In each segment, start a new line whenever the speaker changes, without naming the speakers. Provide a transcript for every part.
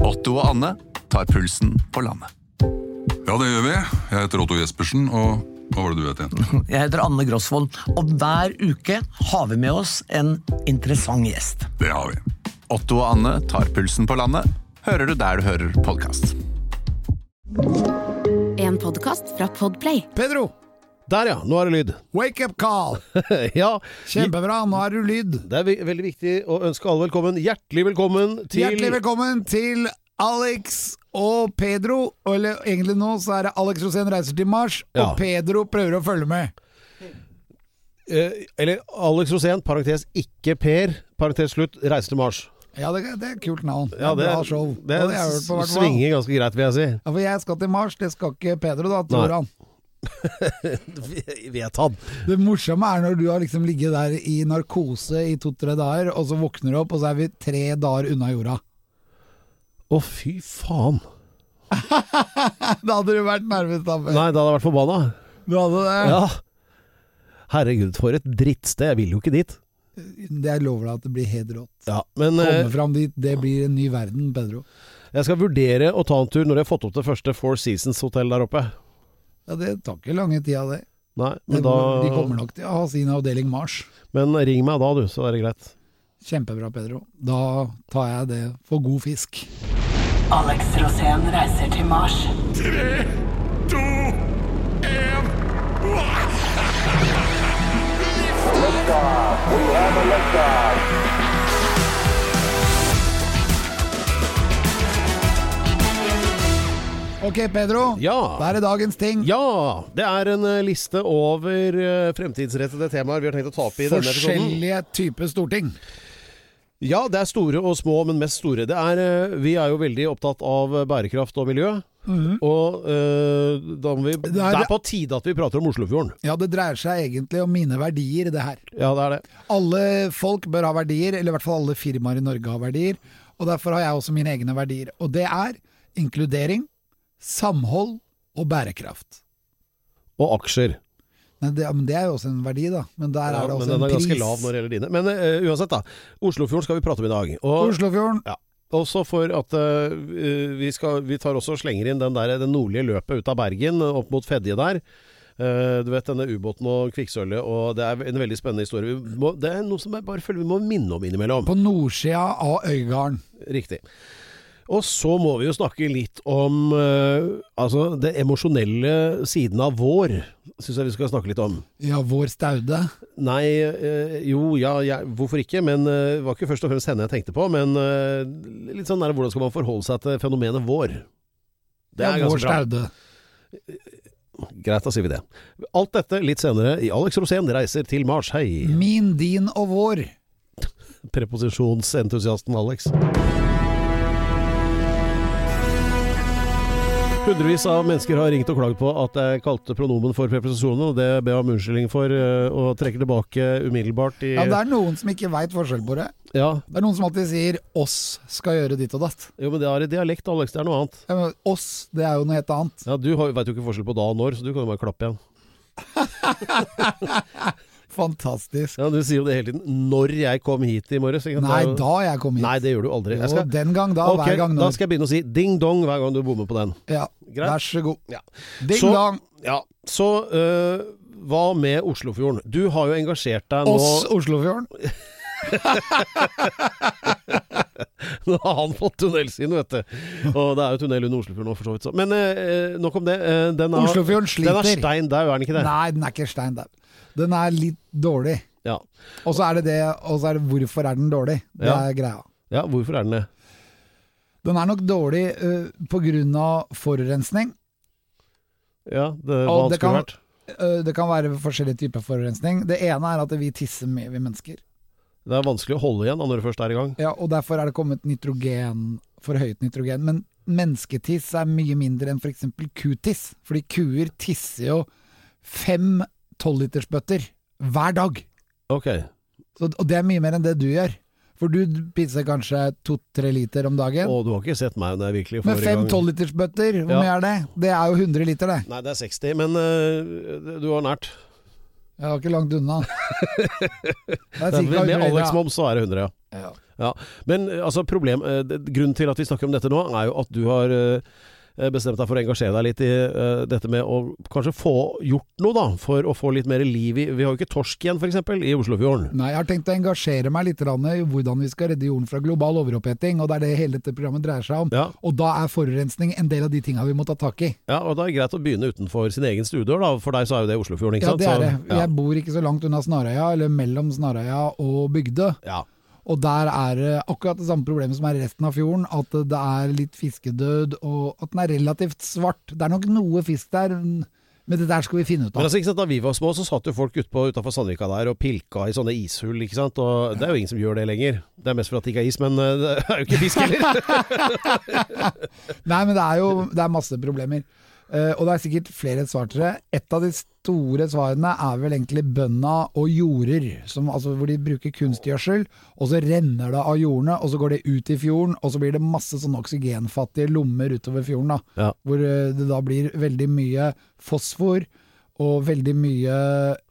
Otto og Anne tar pulsen på landet.
Ja, det gjør vi. Jeg heter Otto Jespersen, og hva var det du het igjen?
Jeg heter Anne Grosvold, og hver uke har vi med oss en interessant gjest.
Det har vi.
Otto og Anne tar pulsen på landet, hører du der du hører podkast.
En podkast fra Podplay.
Pedro! Der, ja. Nå er det lyd.
Wake up call!
ja,
Kjempebra, nå er du lyd.
det er ve- veldig viktig å ønske alle velkommen. Hjertelig velkommen til
Hjertelig velkommen til Alex og Pedro. Eller egentlig nå så er det Alex Rosén reiser til Mars,
Ja.
og Pedro prøver å følge med.
eh, Eller Alex Rosén, parentes ikke Per, parentes slutt, Reise til Mars.
Ja, det, det er et kult navn. Ja, det, Bra show.
det
Og det har jeg hørt på hvert fall.
svinger ganske greit, vil jeg si.
Ja, for jeg skal til Mars, det skal ikke Pedro, da, tror
Nei.
han.
Vi- Vet han.
Det morsomme er når du har liksom ligget der i narkose i to-tre dager, og så våkner du opp, og så er vi tre dager unna jorda.
Å, fy faen.
Da hadde du vært nærmest, da. Pedro.
Nei, da hadde jeg vært forbanna.
Du hadde det.
Ja. Herregud, for et drittsted. Jeg vil jo ikke dit.
Det jeg lover deg at det blir helt rått.
Ja, men eh,
Komme fram dit, det blir en ny verden, Pedro.
jeg skal vurdere å ta en tur når jeg har fått opp det første Four Seasons-hotellet der oppe.
Ja, det tar ikke lange tida, det.
Nei,
Det
men da
går- De kommer nok til å ha sin avdeling Mars.
Men ring meg da, du, så er det greit.
Kjempebra, Pedro. Da tar jeg det for god fisk.
Alex Rosén reiser til Mars.
Ok, Pedro.
Ja.
Da er det dagens ting.
Ja! Det er en eh, liste over eh, fremtidsrettede temaer vi har tenkt å ta opp i denne episoden.
Forskjellige typer storting.
Ja, det er store og små, men mest store. Det er, eh, vi er jo veldig opptatt av eh, bærekraft og miljø. Og eh, da må vi Mhm. det
er-
er, på tide at vi prater om Oslofjorden.
Ja, det dreier seg egentlig om mine verdier, det her.
Ja, det er det.
Alle folk bør ha verdier, eller i hvert fall alle firmaer i Norge har verdier. Og derfor har jeg også mine egne verdier. Og det er inkludering, samhold og bærekraft.
Og aksjer.
Nei, det, ja, men det er jo også en verdi, da. Men der
Ja,
er det
men
også
den
en
er
pris.
ganske lav når det gjelder dine. Men eh, uansett, da. Oslofjorden skal vi prate om i dag. Og
Oslofjorden.
Ja. Også for at eh, vi, skal, vi tar også og slenger inn den der, det nordlige løpet ut av Bergen, eh, opp mot Fedje der. Eh, du vet denne ubåten og kvikksølvet, og det er en veldig spennende historie. Vi må, det er noe som jeg bare føler vi må minne om innimellom.
På nordsida av Øygarden.
Riktig. Og så må vi jo snakke litt om eh, altså det emosjonelle siden av vår, syns jeg vi skal snakke litt om.
Ja, vår staude.
Nei, eh, jo, ja, jeg, hvorfor ikke? Men eh, det var ikke først og fremst henne jeg tenkte på. Men eh, litt sånn der, hvordan skal man forholde seg til fenomenet vår? Det er
ja, vår
ganske bra.
staude.
Greit, da sier vi det. Alt dette litt senere i Alex Rosén reiser til Mars. Hei!
Min, din og vår.
Preposisjonsentusiasten Alex. Hundrevis av mennesker har ringt og klagd på at jeg kalte pronomen for preposisjoner, og det ber jeg om unnskyldning for, eh, og trekker tilbake umiddelbart i
Ja, det er noen som ikke veit forskjell på det.
ja.
Det er noen som alltid sier 'oss skal gjøre ditt og datt'.
Jo, men det er i dialekt, Alex. Det er noe annet.
Ja, men oss, det er jo noe helt annet.
Ja, Du veit jo ikke forskjell på da og når, så du kan jo bare klappe igjen.
Fantastisk.
Ja, Du sier jo det hele tiden. 'Når jeg kom hit i morges'. ikke sant?
Nei,
Det er jo-
da jeg kom hit.
Nei, det gjør du aldri. Jeg
jo, den gang da,
Ok,
hver gang nå.
Da skal jeg begynne å si 'ding dong' hver gang du bommer på den.
Ja,
Greit.
vær så god.
Ja.
Ding
Så-
dong.
Ja, Så øh, hva med Oslofjorden? Du har jo engasjert deg nå
Oss Oslofjorden.
Nå har han fått tunnel sin, vet du. Og det er jo tunnel under Oslofjorden nå, for så vidt. Så. Men øh, nok om det. Øh, den er,
Oslofjorden
Den er
sliter.
stein daud, er den ikke det?
Nei, den er ikke stein der. Den er litt dårlig.
Ja.
Og så er det det, og så er det hvorfor er den dårlig. Det
Ja.
er greia.
ja, hvorfor er den det?
Den er nok dårlig eh, på grunn av forurensning.
Ja, det, hva
Og
den
det
skulle
kan-
vært?
Eh, det kan være forskjellige typer forurensning. Det ene er at vi tisser mye, vi mennesker.
Det er vanskelig å holde igjen da, når du først er i gang.
Ja, og derfor er det kommet nitrogen, for høyt nitrogen. Men mennesketiss er mye mindre enn f.eks. For kutiss. Fordi kuer tisser jo fem tolvlitersbøtter hver dag.
Ok.
Så, og det er mye mer enn det du gjør. For du pisser kanskje to-tre liter om dagen.
Og du har ikke sett meg når jeg virkelig får
Med
i
fem
gang.
tolvlitersbøtter, hvor
Ja.
mye er det? Det er jo 100 liter, det.
Nei, det er 60, men øh, du var nært.
Jeg var ikke langt unna. Det er
Med
cirka 100
med
liter,
Alex
ja.
Moms så er det 100, ja.
Ja.
Ja, Men eh, altså, problem, eh, det- grunnen til at vi snakker om dette nå, er jo at du har eh, bestemt deg for å engasjere deg litt i eh, dette med å kanskje få gjort noe, da. For å få litt mer liv i Vi har jo ikke torsk igjen, f.eks., i Oslofjorden.
Nei, jeg har tenkt å engasjere meg litt grann i hvordan vi skal redde jorden fra global overoppheting, og det er det hele dette programmet dreier seg om.
Ja.
Og da er forurensning en del av de tinga vi må ta tak i.
Ja, og da er det greit å begynne utenfor sin egen stuedør, da. For deg så er jo det Oslofjorden, ikke
Ja,
sant?
det er det.
Så,
Jeg bor ikke så langt unna Snarøya, eller mellom Snarøya og Bygdø.
ja.
Og der er det akkurat det samme problemet som er i resten av fjorden, at det er litt fiskedød, og at den er relativt svart. Det er nok noe fisk der, men det der skal vi finne ut
Men
av.
altså, ikke sant, da vi var små, så satt jo folk utpå utafor Sandvika der og pilka i sånne ishull, ikke sant. Og det er jo ingen som gjør det lenger. Det er mest for at det ikke er is, men eh, det er jo ikke fisk heller.
Nei, men det er jo det er masse problemer. Eh, og det er sikkert flere svar til det. Et av de store svarene er vel egentlig bønda og jorder, som, altså, hvor de bruker kunstgjødsel, og så renner det av jordene, og så går det ut i fjorden, og så blir det masse sånne oksygenfattige lommer utover fjorden, da,
Ja.
hvor eh, det da blir veldig mye fosfor, og veldig mye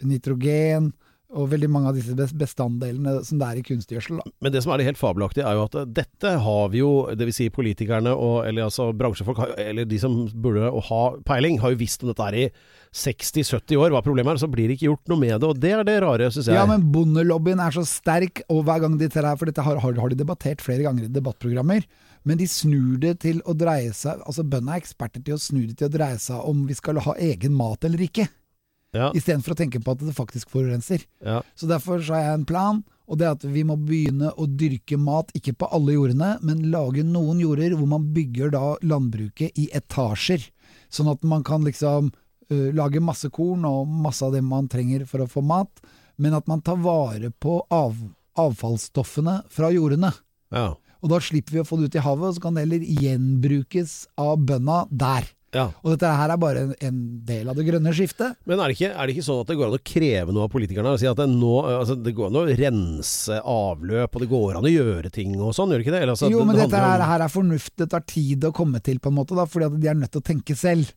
nitrogen, og veldig mange av disse bes- bestanddelene som det er i kunstgjødsel. Da.
Men det som er det helt fabelaktige, er jo at eh, dette har vi jo, dvs. Si politikerne og eller altså bransjefolk, har- eller de som burde å ha peiling, har jo visst om dette her i 60-70 år, hva problemet er. Så blir det ikke gjort noe med det, og det er det rare, syns jeg.
Ja, men bondelobbyen er så sterk, og hver gang de trær, for dette har, har, har de debattert flere ganger i debattprogrammer, men de snur det til å dreie seg, altså bøndene er eksperter til å snu det til å dreie seg om vi skal ha egen mat eller ikke,
ja,
istedenfor å tenke på at det faktisk forurenser.
ja.
Så derfor så har jeg en plan, og det er at vi må begynne å dyrke mat, ikke på alle jordene, men lage noen jorder hvor man bygger da landbruket i etasjer, sånn at man kan liksom øh, lage masse korn og masse av det man trenger for å få mat, men at man tar vare på av, avfallsstoffene fra jordene.
ja.
Og da slipper vi å få det ut i havet, og så kan det heller gjenbrukes av bønda der.
ja.
Og dette her er bare en, en del av det grønne skiftet.
Men er det, ikke, er det ikke sånn at det går an å kreve noe av politikerne? Og si at det, nå, altså, det går an å rense avløp, og det går an å gjøre ting og sånn, gjør det ikke det? Eller, altså,
jo,
det-
men
det
dette
handler
her,
om-
her er fornuft. Det tar tid å komme til, på en måte, da, fordi at de er nødt til å tenke selv.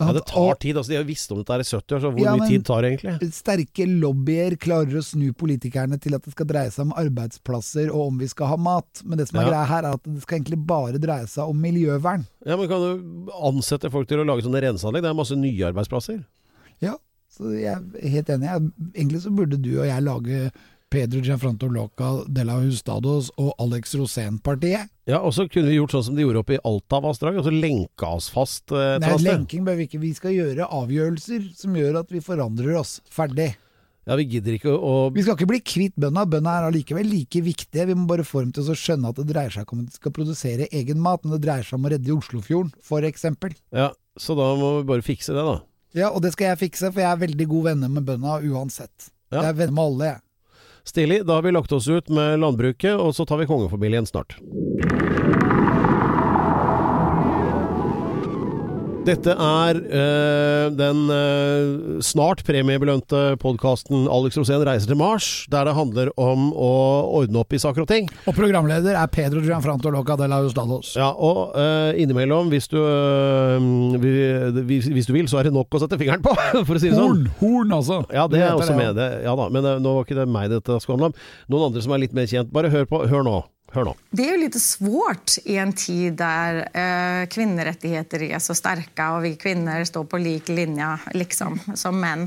ja, det tar
Og
tid. Altså, de har visst om dette her i 70 år, så hvor
Ja,
mye
men-
tid tar det egentlig?
Sterke lobbyer klarer å snu politikerne til at det skal dreie seg om arbeidsplasser og om vi skal ha mat, men det som er
Ja.
greia her er at det skal egentlig bare dreie seg om miljøvern.
Ja, men Kan du ansette folk til å lage sånne renseanlegg? Det er masse nye arbeidsplasser.
Ja, så jeg er helt enig. Jeg, egentlig så burde du og jeg lage Pedro Gianfranto Loca de la Hustados og Alex Rosén-partiet.
Ja, Og så kunne vi gjort sånn som de gjorde oppe i Altavassdraget, og så lenka oss fast eh, et
Nei,
eller annet sted.
lenking bør vi ikke. Vi skal gjøre avgjørelser som gjør at vi forandrer oss. Ferdig.
Ja, vi gidder ikke å
Vi skal ikke bli kvitt bøndene. Bøndene er allikevel like viktige. Vi må bare få dem til å skjønne at det dreier seg ikke om at de skal produsere egen mat, men det dreier seg om å redde Oslofjorden, for eksempel.
Ja, så da må vi bare fikse det, da.
Ja, og det skal jeg fikse, for jeg er veldig god venner med bøndene uansett.
Ja.
Jeg er venner med alle, jeg.
Stilig, da har vi lagt oss ut med landbruket, og så tar vi kongefamilien snart. Dette er eh, den eh, snart premiebelønte podkasten 'Alex Rosén reiser til Mars', der det handler om å ordne opp i saker og ting.
Og programleder er Pedro Gianfranto Loca de la Hustados.
Ja, og eh, innimellom, hvis du, eh, vi- hvis, hvis du vil, så er det nok å sette fingeren på, for å si det sånn.
Horn, horn, altså!
Ja, det
Du
er
vet
også
ja.
med. Det. Ja da, men eh, nå var ikke det meg dette skulle handle om. Noen andre som er litt mer kjent. Bare hør på. Hør nå. Hør nå.
Det er jo lite svårt i en tid der eh, kvinnerettigheter er så sterke, og vi kvinner står på lik linje liksom, som menn.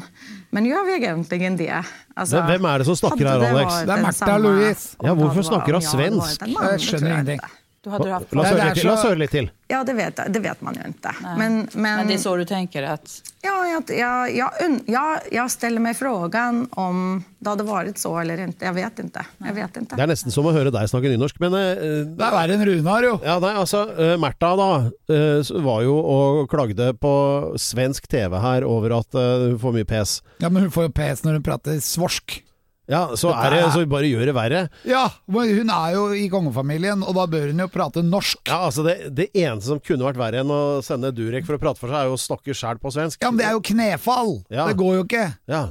Men gjør vi egentlig det? Altså,
Hvem- hvem er det som snakker
hadde
her, Alex?
vært
Det er
den
Märtha
samme
Louise.
Ja,
om
hvorfor
det var-
snakker hun
om jeg hadde
svensk?
vært en mann,
Jeg skjønner
tror
ingenting.
ikke. Du hadde
La
haft
oss
Nei,
høre
det
litt
er
til. La oss
så-
høre litt til.
Ja, det vet, det vet man jo ikke. Men, men,
Men det är så du tänker att
Ja, jag, jag, jag, und- jag, jag ställer mig frågan om det hade varit så eller inte. Jag vet inte. Jag vet inte.
Det er nesten som å høre deg snakke nynorsk, men eh,
Det er verre enn Runar, jo!
ja, nei, altså, eh, Märtha da eh, s- var jo og klagde på svensk TV her over at eh, hun får mye pes.
Ja, Men hun får jo pes når hun prater svorsk.
Ja, så er det så vi bare gjør det verre.
Ja, men hun er jo i kongefamilien, og da bør hun jo prate norsk.
Ja, altså det, det eneste som kunne vært verre enn å sende Durek for å prate for seg, er jo å snakke sjæl på svensk.
Ja, men det er jo knefall!
Ja.
Det går jo ikke.
Ja.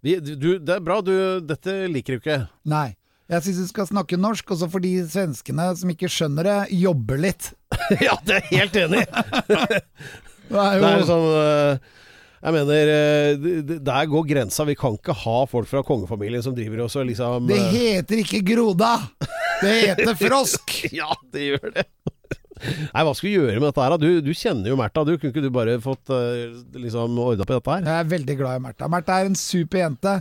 Vi, du, det er bra, du, dette liker du ikke.
Nei. Jeg syns du skal snakke norsk, og så får de svenskene som ikke skjønner det, jobbe litt.
ja, det er jeg helt enig i!
Det er
Det er
jo,
sånn eh, Jeg mener, eh, d- d- der går grensa. Vi kan ikke ha folk fra kongefamilien som driver oss og liksom
det
eh,
heter ikke groda! Det heter frosk!
Ja, det gjør det. Nei, hva skal vi gjøre med dette her? da? Du, du kjenner jo Märtha. Du, Kunne ikke du bare fått eh, liksom ordna på dette her?
Jeg er veldig glad i Märtha. Märtha er en super jente,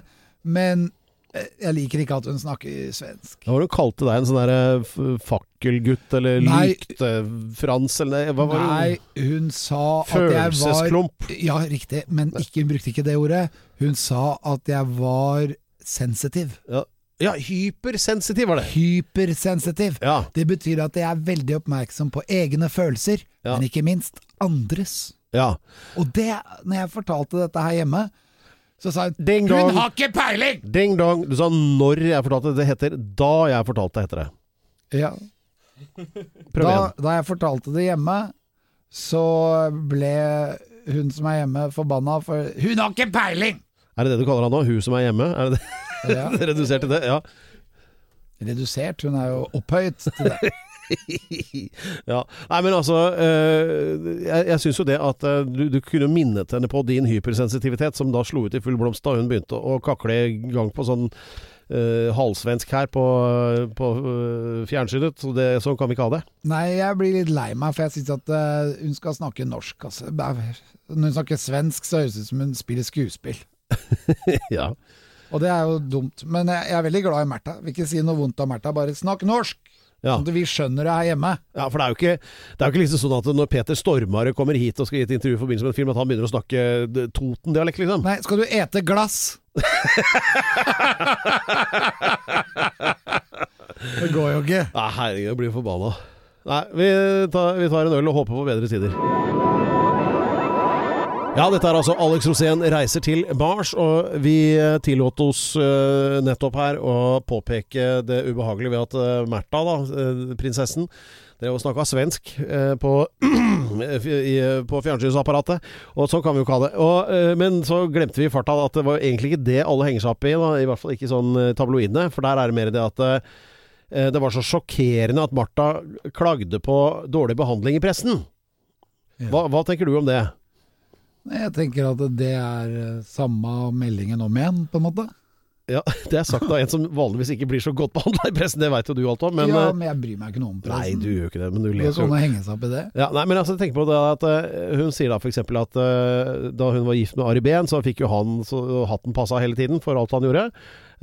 men eh, jeg liker ikke at hun snakker svensk.
Hva var det hun kalte deg? En sånn der, eh, f- fakkelgutt eller
Nei.
lykte-frans eller hva var det hun-
Nei, hun sa at jeg var
Følelsesklump.
Ja, riktig, men ikke, hun brukte ikke det ordet. Hun sa at jeg var sensitiv.
Ja. ja, hypersensitiv var det.
Hypersensitiv.
Ja.
Det betyr at jeg er veldig oppmerksom på egne følelser,
Ja.
men ikke minst andres.
ja.
Og det, når jeg fortalte dette her hjemme, så sa hun
Ding dong.
Hun har ikke peiling!
Ding dong. Du sa når jeg fortalte det, det heter da jeg fortalte det, heter det.
Ja,
Prøv
da,
igjen.
da jeg fortalte det hjemme, så ble hun som er hjemme forbanna, for hun har ikke peiling!
Er det det du kaller han nå? Hun som er hjemme? Er det det?
Ja,
Redusert til det? Ja.
redusert, hun er jo opphøyet til det.
ja. Nei, men altså eh, Jeg, jeg syns jo det at eh, du, du kunne minnet henne på din hypersensitivitet, som da slo ut i full blomst da hun begynte å kakle i gang på sånn eh, halvsvensk her på, på eh, fjernsynet. Så det, sånn kan vi ikke ha det.
Nei, jeg blir litt lei meg, for jeg syns at eh, hun skal snakke norsk. Altså. Når hun snakker svensk, så høres det ut som hun spiller skuespill.
ja.
Og det er jo dumt. Men jeg, jeg er veldig glad i Märtha. Vil ikke si noe vondt om Märtha, bare snakk norsk!
Ja.
Sånn at vi skjønner det her hjemme.
Ja, for det er jo ikke, det er jo ikke liksom sånn at når Peter Stormare kommer hit og skal gi et intervju i forbindelse med en film, at han begynner å snakke eh, Toten-dialekt, liksom.
Nei, skal du ete glass? det går jo ikke.
Nei, herregud, jeg blir forbanna. Nei, vi tar, vi tar en øl og håper på bedre tider. Ja, dette er altså Alex Rosén reiser til Mars, og vi eh, tillot oss eh, nettopp her å påpeke det ubehagelige ved at eh, Märtha, da, eh, prinsessen, drev og snakka svensk eh, på, i, på fjernsynsapparatet. Og sånn kan vi jo ikke ha det. Og, eh, men så glemte vi i farta at det var jo egentlig ikke det alle henger seg opp i, da, i hvert fall ikke sånn eh, tabloidene, for der er det mer det at eh, Eh, Det var så sjokkerende at Martha klagde på dårlig behandling i pressen. Hva, hva tenker du om det?
Jeg tenker at det er eh, samme meldingen om igjen, på en måte.
Ja, Det er sagt av en som vanligvis ikke blir så godt behandla i pressen, det veit jo du alt om, men
ja,
eh,
men jeg bryr meg ikke noe om
Nei,
pressen.
du gjør jo ikke det, men du
Det sånn
leser
kan
jo
jo henge seg opp i det.
ja, nei, men altså, tenk på det at eh, Hun sier da f.eks. at eh, da hun var gift med Ari Behn, så fikk jo han så, hatten passa hele tiden for alt han gjorde.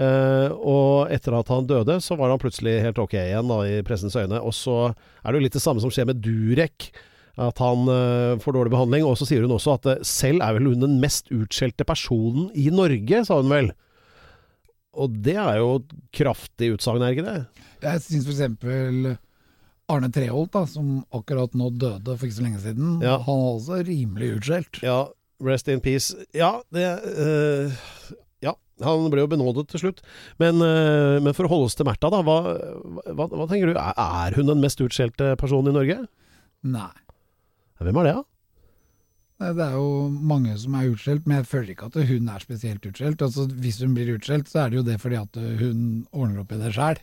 Eh, og etter at han døde, så var han plutselig helt ok igjen da, i pressens øyne. Og så er det jo litt det samme som skjer med Durek. At han eh, får dårlig behandling. Og så sier hun også at eh, selv er vel hun den mest utskjelte personen i Norge, sa hun vel. Og det er jo et kraftig utsagn, er ikke det?
Jeg syns f.eks. Arne Treholt, da, som akkurat nå døde for ikke så lenge siden,
Ja.
han var også rimelig utskjelt.
Ja, rest in peace. Ja, det eh, Ja, han ble jo benådet til slutt. Men, eh, men for å holde oss til Märtha, da. Hva, hva, hva tenker du? Er- Er hun den mest utskjelte personen i Norge?
Nei.
Hvem er det, da?
Nei, Det er jo mange som er utskjelt, men jeg føler ikke at hun er spesielt utskjelt. Altså, hvis hun blir utskjelt, så er det jo det fordi at hun ordner opp i det sjæl.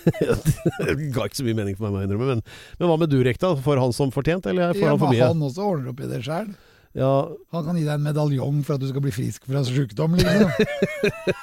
det ga ikke så mye mening for meg, må jeg innrømme. Men, men hva med Durek, da? Får han som fortjent, eller får
Ja,
han for
men
mye?
han også ordner opp i det sjæl.
Ja,
Han kan gi deg en medaljong for at du skal bli frisk fra sjukdom, liksom.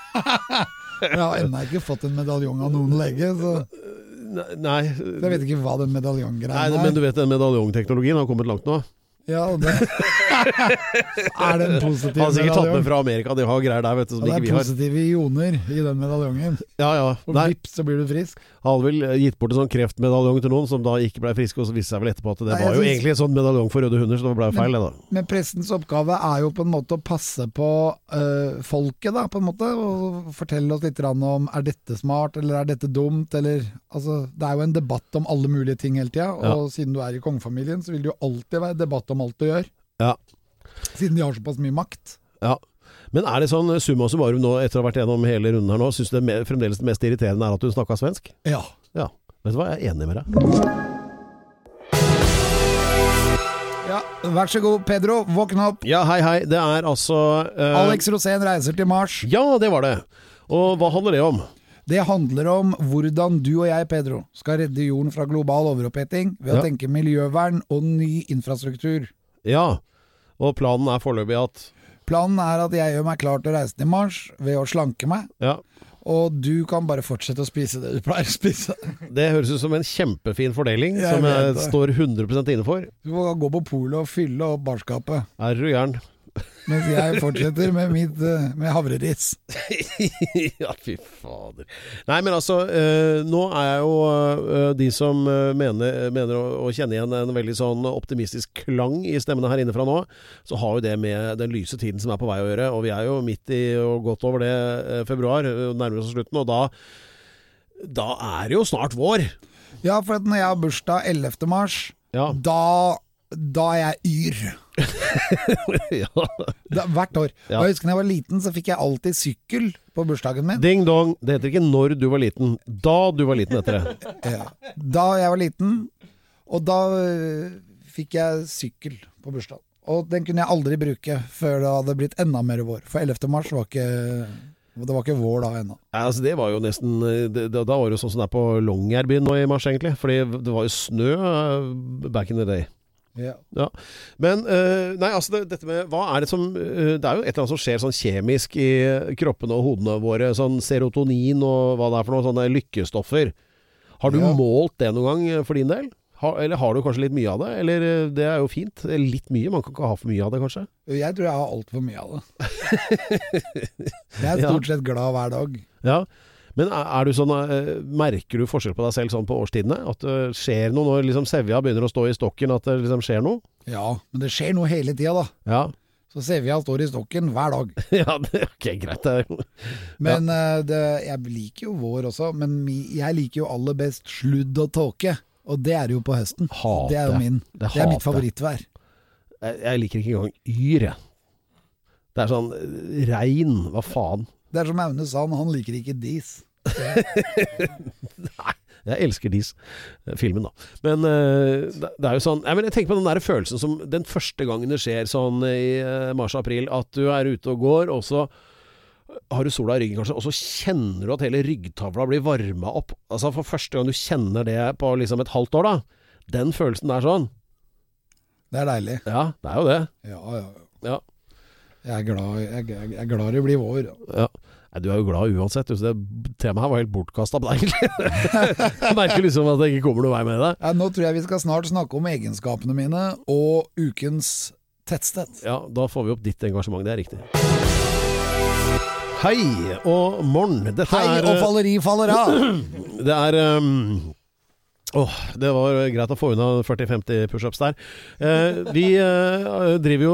Jeg har ennå ikke fått en medaljong av noen lege, så
ne- nei,
så jeg vet ikke hva den
nei
medaljongreia
Men
er.
du vet den medaljongteknologien har kommet langt nå?
Ja, og det... er det en positiv
Han har sikkert tatt med
medaljong?
fra Amerika, de har greier der, vet du, som
Ja,
ikke
det
vi
er
har.
positive ioner i den medaljongen.
Ja, ja.
Og
Nei,
vips, så blir du frisk.
Han hadde vel gitt bort en sånn kreftmedaljong til noen som da ikke blei friske, og så viste seg vel etterpå at det
Nei, jeg
var jo
synes-
egentlig en sånn medaljong for røde hunder, så det blei feil, det da.
Men pressens oppgave er jo på en måte å passe på øh, folket, da, på en måte. Og fortelle oss litt grann om er dette smart, eller er dette dumt, eller Altså, det er jo en debatt om alle mulige ting hele tida, og siden du er i kongefamilien, så vil det jo alltid være debatt om alt du gjør.
Ja.
Siden de har såpass mye makt.
ja. Men er det sånn summa summarum nå, etter å ha vært gjennom hele runden her nå, syns du det me- fremdeles det mest irriterende er at hun snakka svensk?
Ja.
Ja. Vet du hva, jeg er enig med deg.
ja. Vær så god, Pedro, våkne opp.
Ja, hei, hei. Det er altså eh,
Alex Rosén reiser til Mars.
Ja, det var det. Og hva handler det om?
Det handler om hvordan du og jeg, Pedro, skal redde jorden fra global overoppheting ved
Ja.
å tenke miljøvern og ny infrastruktur.
Ja. Og planen er foreløpig at
Planen er at jeg gjør meg klar til å reise til Mars ved å slanke meg,
Ja.
Og du kan bare fortsette å spise det du pleier å spise.
Det høres ut som en kjempefin fordeling,
Jeg
som jeg
vet det.
står 100 inne for.
Du må gå på polet og fylle opp barskapet.
Er du gæren?
Mens jeg fortsetter med, mitt, eh, med havreris.
ja, fy fader. Nei, men altså, eh, nå er jeg jo eh, de som eh, mener, mener å, å kjenne igjen en veldig sånn optimistisk klang i stemmene her inne fra nå, så har jo det med den lyse tiden som er på vei å gjøre. Og vi er jo midt i og godt over det eh, februar, eh, nærmer oss slutten, og da da er det jo snart vår.
Ja, for at når jeg har bursdag 11. mars,
Ja.
da, da er jeg yr.
ja.
Da, hvert år.
Ja.
Og jeg husker da jeg var liten, så fikk jeg alltid sykkel på bursdagen min.
Ding dong. Det heter ikke når du var liten. Da du var liten heter det.
Ja. Da jeg var liten, og da øh, fikk jeg sykkel på bursdagen. Og den kunne jeg aldri bruke før det hadde blitt enda mer vår. For 11. mars var ikke, det var ikke vår da ennå.
Nei, Altså, det var jo nesten eh, det, Da da var det jo sånn som det er på Longyearbyen nå i mars, egentlig. Fordi det var jo snø eh, back in the day.
Ja.
Ja. Men eh, nei, altså det, dette med Hva er det som eh, Det er jo et eller annet som skjer sånn kjemisk i kroppene og hodene våre. Sånn serotonin og hva det er for noe. Sånne lykkestoffer. Har du
Ja.
målt det noen gang eh, for din del? Har, eller har du kanskje litt mye av det? Eller eh, det er jo fint. Eh, Litt mye. Man kan ikke ha for mye av det, kanskje.
Jeg tror jeg har altfor mye av det. Jeg er stort sett glad hver dag.
Ja. Men er, er du sånn, eh, merker du forskjell på deg selv sånn på årstidene? At det skjer noe når liksom sevja begynner å stå i stokken? At det liksom skjer noe?
Ja, men det skjer noe hele tida, da.
Ja.
Så Sevja står i stokken hver dag.
ja det, ok, greit. Det.
Men eh, det, jeg liker jo vår også, men mi, jeg liker jo aller best sludd og tåke. Og det er jo på høsten.
Hater.
Det er jo min.
Det
Det er mitt
hater jeg.
favorittvær.
Jeg, jeg liker ikke engang yr, jeg. Det er sånn eh, regn, hva faen.
Det er som Aune Sand, han liker ikke dis.
Jeg elsker dis, eh, filmen da. Men eh, det, det er jo sånn Nei, men Jeg tenker på den der følelsen som den første gangen det skjer sånn i eh, mars-april, at du er ute og går, og så har du sola i ryggen kanskje, og så kjenner du at hele ryggtavla blir varma opp. Altså For første gang du kjenner det på liksom et halvt år, da. Den følelsen der sånn.
Det er deilig.
Ja, det er jo det.
Ja, ja.
Ja.
Jeg er glad, jeg, jeg, jeg er glad det blir vår.
Ja. Nei, du er jo glad uansett, så det temaet her var helt bortkasta på deg, egentlig. Jeg merker liksom at det ikke kommer noen vei med det.
Ja, nå tror jeg vi skal snart snakke om egenskapene mine og ukens tettsted.
Ja, da får vi opp ditt engasjement, det er riktig. Hei og morgen. Dette
Hei,
er
og falleri faller av!
Det er ehm, Åh, det var greit å få unna 40-50 pushups der. Eh, vi eh, driver jo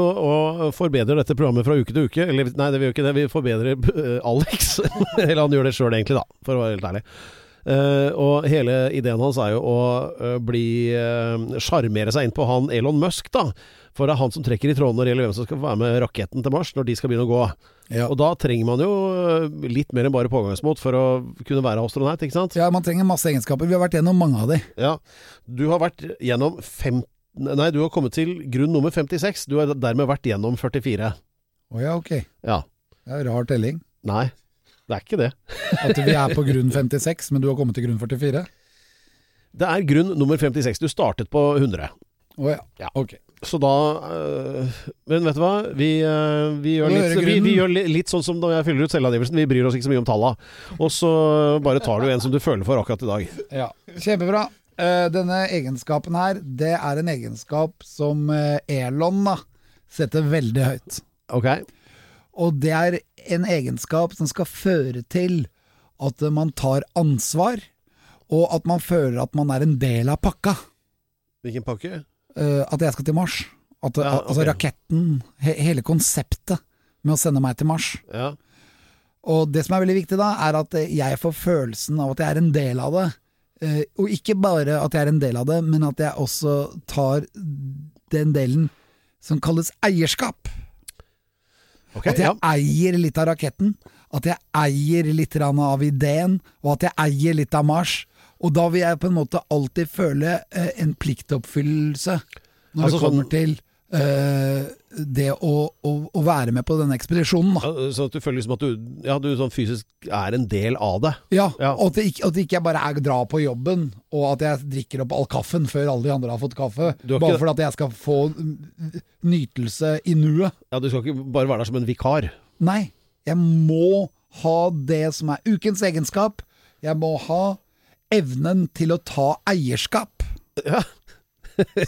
og forbedrer dette programmet fra uke til uke. Eller, nei, det vi gjør ikke det. Vi forbedrer eh, Alex. Eller han gjør det sjøl, egentlig, da, for å være helt ærlig. Eh, og hele ideen hans er jo å eh, bli eh, sjarmere seg inn på han Elon Musk, da. For det er han som trekker i trådene når det gjelder hvem som skal få være med raketten til Mars når de skal begynne å gå.
Ja.
Og da trenger man jo eh, litt mer enn bare pågangsmot for å kunne være astronaut, ikke sant?
Ja, man trenger masse egenskaper. Vi har vært gjennom mange av de.
Ja. Du har vært gjennom fem... Nei, du har kommet til grunn nummer 56. Du har dermed vært gjennom 44.
Å ja, ok.
Ja.
Det er rar telling.
Nei, det er ikke det.
At vi er på grunn 56, men du har kommet til grunn 44?
Det er grunn nummer 56. Du startet på 100.
Å ja.
Ja.
Ok.
Så da øh, Men vet du hva? Vi, øh, vi, gjør,
Nå
litt,
hører
vi, vi
grunnen.
gjør li, litt sånn som når jeg fyller ut selvangivelsen. Vi bryr oss ikke så mye om talla. Og så bare tar du en som du føler for akkurat i dag.
Ja. Kjempebra. Eh, denne egenskapen her, det er en egenskap som eh, Elon da, setter veldig høyt.
Ok?
Og det er en egenskap som skal føre til at eh, man tar ansvar, og at man føler at man er en del av pakka.
Hvilken pakke?
Eh, at jeg skal til Mars. At,
Ja,
Altså
ok.
raketten, he hele konseptet med å sende meg til Mars.
Ja.
Og det som er veldig viktig da, er at eh, jeg får følelsen av at jeg er en del av det. Eh, Og ikke bare at jeg er en del av det, men at jeg også tar den delen som kalles eierskap.
Ok,
At jeg
ja.
eier litt av raketten, at jeg eier litt grann av ideen, og at jeg eier litt av Mars. Og da vil jeg på en måte alltid føle eh, en pliktoppfyllelse når
Altså
det kommer
sånn-
til eh, det å, å, å være med på denne ekspedisjonen. Da.
Ja, Sånn at du føler liksom at du, ja, du sånn fysisk er en del av det.
Ja,
Ja.
Og at, det ikke, at det ikke jeg bare er, drar på jobben, og at jeg drikker opp all kaffen før alle de andre har fått kaffe,
Du har
bare
ikke-
for at jeg skal få mm, nytelse i nuet.
Ja, Du skal ikke bare være der som en vikar.
Nei, jeg må ha det som er ukens egenskap. Jeg må ha evnen til å ta eierskap,
Ja,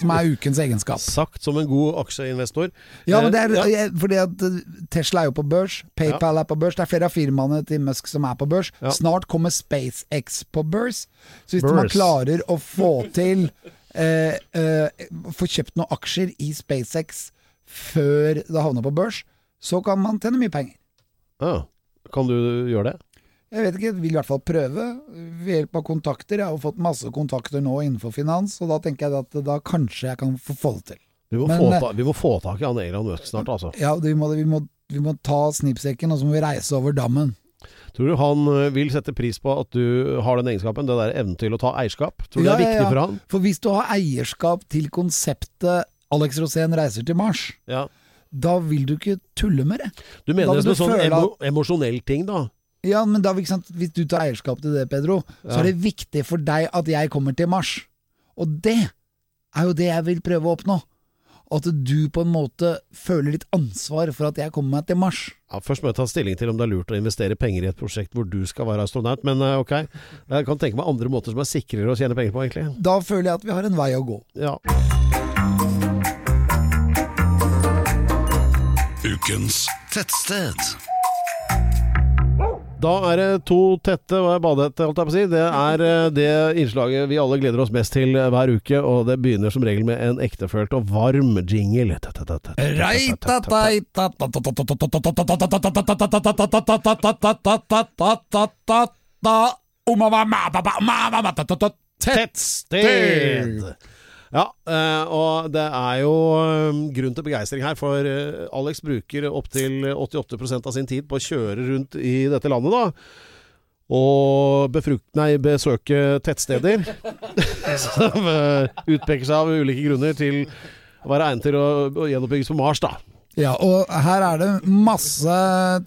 som er ukens egenskap.
sagt som en god aksjeinvestor.
Ja, men det er,
Eh, ja.
jeg- fordi at eh, Tesla er jo på børs, PayPal er på børs, det er flere av firmaene til Musk som er på børs.
Ja.
Snart kommer SpaceX på børs. Så hvis man
Børs.
klarer å få til eh, eh, Få kjøpt noen aksjer i SpaceX før det havner på børs, så kan man tjene mye penger.
Ah, kan du gjøre det?
Jeg vet ikke, vil i hvert fall prøve ved hjelp av kontakter. Jeg har jo fått masse kontakter nå innenfor finans, og da tenker jeg at da kanskje jeg kan få få det til.
Vi må,
Men,
få,
eh,
ta, vi må få tak i han Elon Musk snart, altså.
Ja, vi må, vi må, vi må ta snipsekken, og så må vi reise over dammen.
Tror du han eh, vil sette pris på at du har den egenskapen, det der evnen til å ta eierskap? Tror du
Ja,
det er
ja,
viktig
ja.
for han?
For hvis du har eierskap til konseptet Alex Rosén reiser til Mars,
Ja.
da vil du ikke tulle med det.
Du mener
Da
det
vil
som en sånn
du føle
emo emosjonell ting, da?
Ja, men da, ikke sant? Hvis du tar eierskap til det, Pedro, så
Ja.
er det viktig for deg at jeg kommer til Mars. Og det er jo det jeg vil prøve å oppnå. At du på en måte føler litt ansvar for at jeg kommer meg til Mars.
Ja, først må jeg ta stilling til om det er lurt å investere penger i et prosjekt hvor du skal være astronaut, men eh, ok. Jeg kan tenke meg andre måter som er sikrere å tjene penger på, egentlig.
Da føler jeg at vi har en vei å gå.
Ja.
Ukens tettsted.
Da er det to tette og jeg badehette, holdt jeg på å si. Det er eh, det innslaget vi alle gleder oss mest til hver uke, og det begynner som regel med en ektefølt og varm jingle. Tette, tette, tette, tette, tette. Tettsted! Ja, eh, og det er jo eh, grunn til begeistring her, for eh, Alex bruker opptil 88 av sin tid på å kjøre rundt i dette landet, da. Og befrukt, nei, besøke tettsteder som eh, utpeker seg av ulike grunner til å være egnet til å, å gjenoppbygges på Mars, da.
Ja, og her er det masse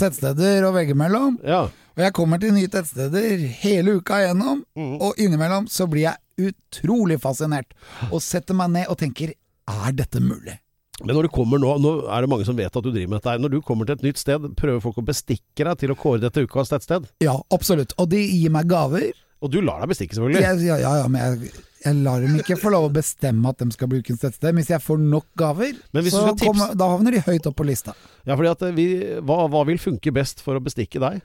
tettsteder å velge mellom.
Ja.
Og jeg kommer til nye tettsteder hele uka igjennom,
Mm.
og innimellom så blir jeg utrolig fascinert. Og setter meg ned og tenker er dette mulig?
Men når du kommer nå, nå er det mange som vet at du driver med dette her. Når du kommer til et nytt sted, prøver folk å bestikke deg til å kåre dette ukas tettsted.
Ja, absolutt. Og de gir meg gaver.
Og du lar deg bestikke, selvfølgelig.
Jeg, ja, ja, ja, men jeg, jeg lar dem ikke få lov å bestemme at de skal bruke ukens tettsted. Men hvis jeg får nok gaver,
Men hvis du
så
skal tipse-
kommer- da havner de høyt opp på lista.
Ja, fordi at eh, vi, hva, hva vil funke best for å bestikke deg?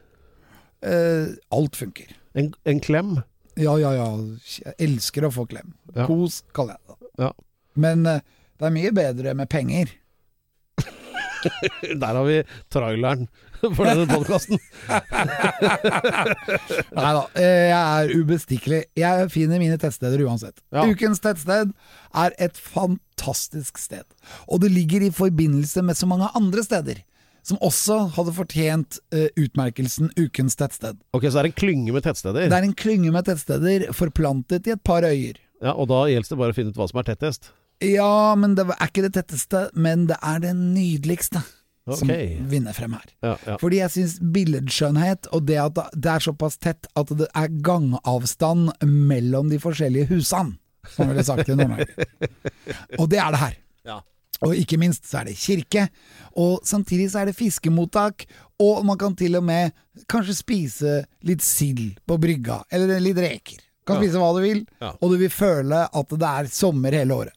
Eh, alt funker.
En, en klem?
Ja, ja, ja. Jeg elsker å få klem.
Ja.
Kos, kaller jeg det.
Ja.
Men eh, det er mye bedre med penger.
Der har vi traileren for denne podkasten.
Nei da, eh, jeg er ubestikkelig. Jeg finner mine tettsteder uansett.
Ja.
Ukens tettsted er et fantastisk sted, og det ligger i forbindelse med så mange andre steder. Som også hadde fortjent eh, utmerkelsen Ukens tettsted.
Ok, så er det en klynge med
Det
tettsteder.
er en klynge med tettsteder forplantet i et par øyer.
Ja, og da gjelder det bare å finne ut hva som er tettest.
Ja, men det er ikke det tetteste, men det er det nydeligste som
Ok.
vinner frem her.
Ja, ja.
Fordi jeg syns billedskjønnhet og det at det er såpass tett at det er gangavstand mellom de forskjellige husene, som ville sagt i Nord-Norge. Og det er det her.
Ja.
Og ikke minst så er det kirke, og samtidig så er det fiskemottak, og man kan til og med kanskje spise litt sild på brygga, eller litt reker. Du kan spise hva du vil,
Ja.
og du vil føle at det er sommer hele året.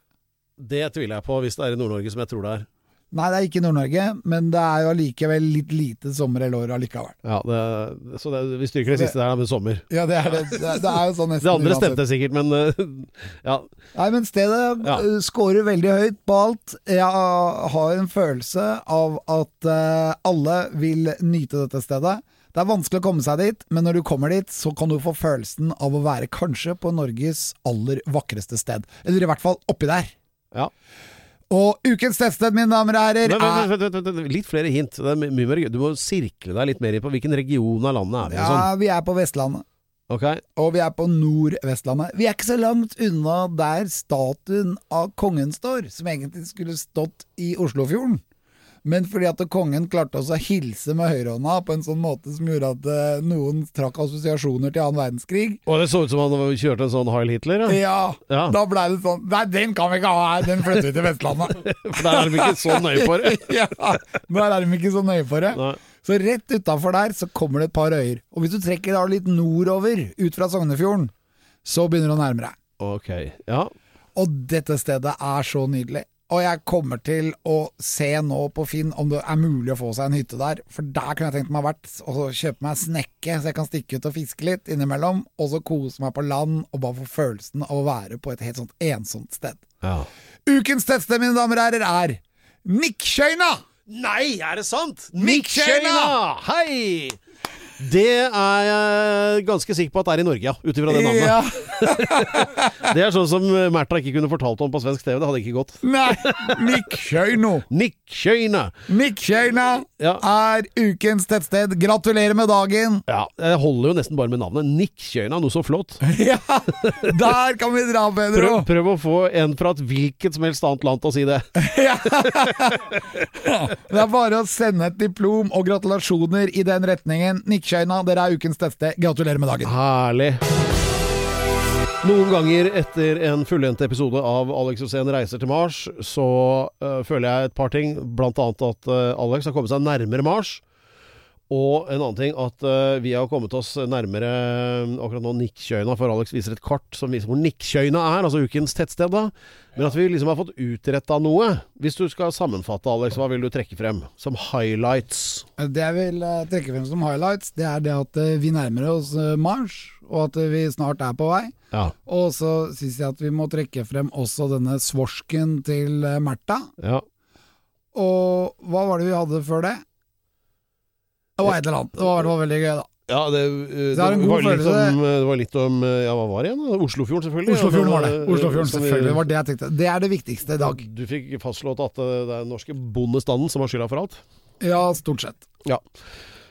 Det tviler jeg på, hvis det er i Nord-Norge som jeg tror det er.
Nei, det er ikke Nord-Norge, men det er jo allikevel litt lite sommer hele året allikevel.
Ja, det, så det, vi styrker det siste der da, med sommer.
Ja, det er det. Det er, det er jo sånn nesten
Det andre
uansett.
stemte sikkert, men eh, ja.
Nei, men stedet
Ja.
eh, scorer veldig høyt på alt. Jeg har en følelse av at eh, alle vil nyte dette stedet. Det er vanskelig å komme seg dit, men når du kommer dit, så kan du få følelsen av å være kanskje på Norges aller vakreste sted. Eller i hvert fall oppi der.
ja.
Og ukens tettsted, mine damer og herrer,
Men,
er
vent, vent, vent, vent, litt flere hint. Det er my- mye mer gøy. Du må sirkle deg litt mer inn på hvilken region av landet er vi i.
Ja,
Sånn.
vi er på Vestlandet.
Ok?
Og vi er på Nordvestlandet. Vi er ikke så langt unna der statuen av kongen står, som egentlig skulle stått i Oslofjorden. Men fordi at kongen klarte også å hilse med høyrehånda på en sånn måte som gjorde at eh, noen trakk assosiasjoner til annen verdenskrig.
Og det så ut som han kjørte en sånn Heil Hitler, ja.
Ja,
Ja.
da blei det sånn Nei, den kan vi ikke ha her, den flytter vi til Vestlandet.
For der er de ikke så nøye for det.
ja, Der er de ikke så nøye for det.
Nei.
Så rett utafor der så kommer det et par øyer. Og hvis du trekker da litt nordover, ut fra Sognefjorden, så begynner du å nærme deg.
Ok, ja.
Og dette stedet er så nydelig. Og jeg kommer til å se nå på Finn om det er mulig å få seg en hytte der, for der kunne jeg tenkt meg å ha vært, og så kjøpe meg snekke så jeg kan stikke ut og fiske litt innimellom, og så kose meg på land og bare få følelsen av å være på et helt sånt ensomt sted.
ja.
Ukens tettsted, mine damer og herrer, er Nikkjøyna!
Nei, er det sant?
Mikkjøyna!
Hei! Det er jeg ganske sikker på at det er i Norge, ja. Ut ifra det navnet.
Ja,
Det er sånn som Märtha ikke kunne fortalt om på svensk TV. Det hadde ikke gått.
nei, Nikkjøyno.
Nikkjøyna!
Nikkjøyna
Ja.
er ukens tettsted. Gratulerer med dagen!
Ja, jeg holder jo nesten bare med navnet. Nikkjøyna, noe så flott.
Ja, der kan vi dra, Pedro!
Prøv, prøv å få en fra et hvilket som helst annet land til å si det.
Det er bare å sende et diplom og gratulasjoner i den retningen. Nikkjøyna, dere er ukens tettsted. Gratulerer med dagen.
Herlig. Noen ganger etter en fullendt episode av Alex Rosén reiser til Mars, så øh, føler jeg et par ting. Blant annet at øh, Alex har kommet seg nærmere Mars. Og en annen ting at øh, vi har kommet oss nærmere øh, akkurat nå Nikkjøyna, for Alex viser et kart som viser hvor Nikkjøyna er, altså ukens tettsted, da. Men at vi liksom har fått utretta noe. Hvis du skal sammenfatte, Alex, hva vil du trekke frem som highlights?
Det jeg vil eh, trekke frem som highlights, det er det at eh, vi nærmer oss eh, Mars, og at eh, vi snart er på vei.
Ja.
Og så syns jeg at vi må trekke frem også denne svorsken til eh, Märtha.
ja.
Og hva var det vi hadde før det? Det var et eller annet. Det var i hvert fall veldig gøy, da.
Ja, det, eh, det,
er en god
var litt
følelse, det.
om, eh, det var litt om eh, Ja, hva var det igjen? da? Oslofjorden, selvfølgelig.
Oslofjorden var det.
Ja, eh,
Oslofjorden,
som vi-
selvfølgelig. Det var det jeg tenkte. Det er det viktigste i dag.
Du fikk fastslått at eh, det er den norske bondestanden som har skylda for alt.
Ja, stort sett.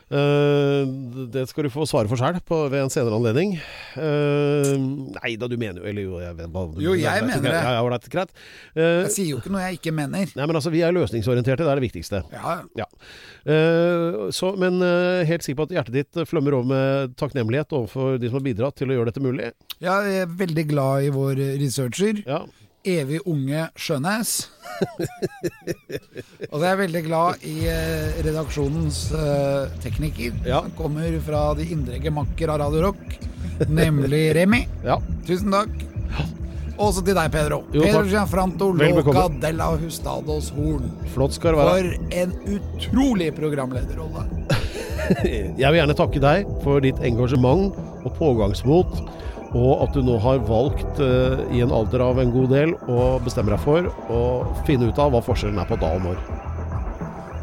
Eh, det skal du få svare for sjøl ved en senere anledning. Eh, nei da, du mener jo Eller jo, jeg vet hva du
Jo, jeg mener det.
Ja, ja, ålreit, greit. Eh,
Jeg sier jo ikke noe jeg ikke mener.
nei, men altså, vi er løsningsorienterte. Det er det viktigste.
Ja,
Ja. Eh, så, men eh, helt sikker på at hjertet ditt flømmer over med takknemlighet overfor de som har bidratt til å gjøre dette mulig.
jeg er veldig glad i vår researcher.
Ja,
Evig unge Skjønæs. Og så er jeg veldig glad i eh, redaksjonens eh, tekniker,
Ja.
som kommer fra de indre gemakker av Radio Rock, nemlig Remi.
ja.
Tusen takk. Også til deg, Pedro.
Jo, takk.
Pedro Gianfranto
Vel
Loca
bekomme.
della Hustados Horn.
Flott skal det være.
For en utrolig programlederrolle.
Jeg vil gjerne takke deg for ditt engasjement og pågangsmot, og at du nå har valgt eh, i en alder av en god del å bestemme deg for å finne ut av hva forskjellen er på da og når.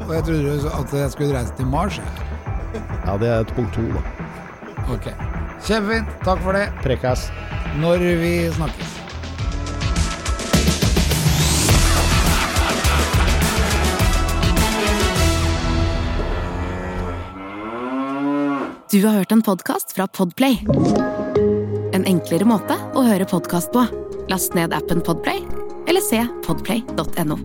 Og jeg trodde jo at jeg skulle reise til Mars. jeg.
Ja, det er et punkt to, da.
Ok. Kjempefint. Takk for det.
Prekas.
Når vi snakkes.
Du har hørt en podcast fra Podplay. En enklere måte å høre podcast på. Last ned appen Podplay, eller se podplay.no.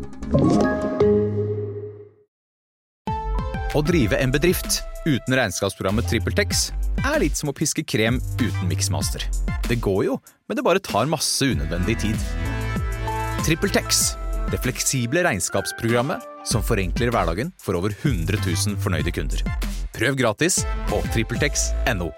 Å drive en bedrift uten regnskapsprogrammet TrippelTex er litt som å piske krem uten miksmaster. Det går jo, men det bare tar masse unødvendig tid. TrippelTex det fleksible regnskapsprogrammet som forenkler hverdagen for over 100 000 fornøyde kunder. Prøv gratis på TrippelTex.no.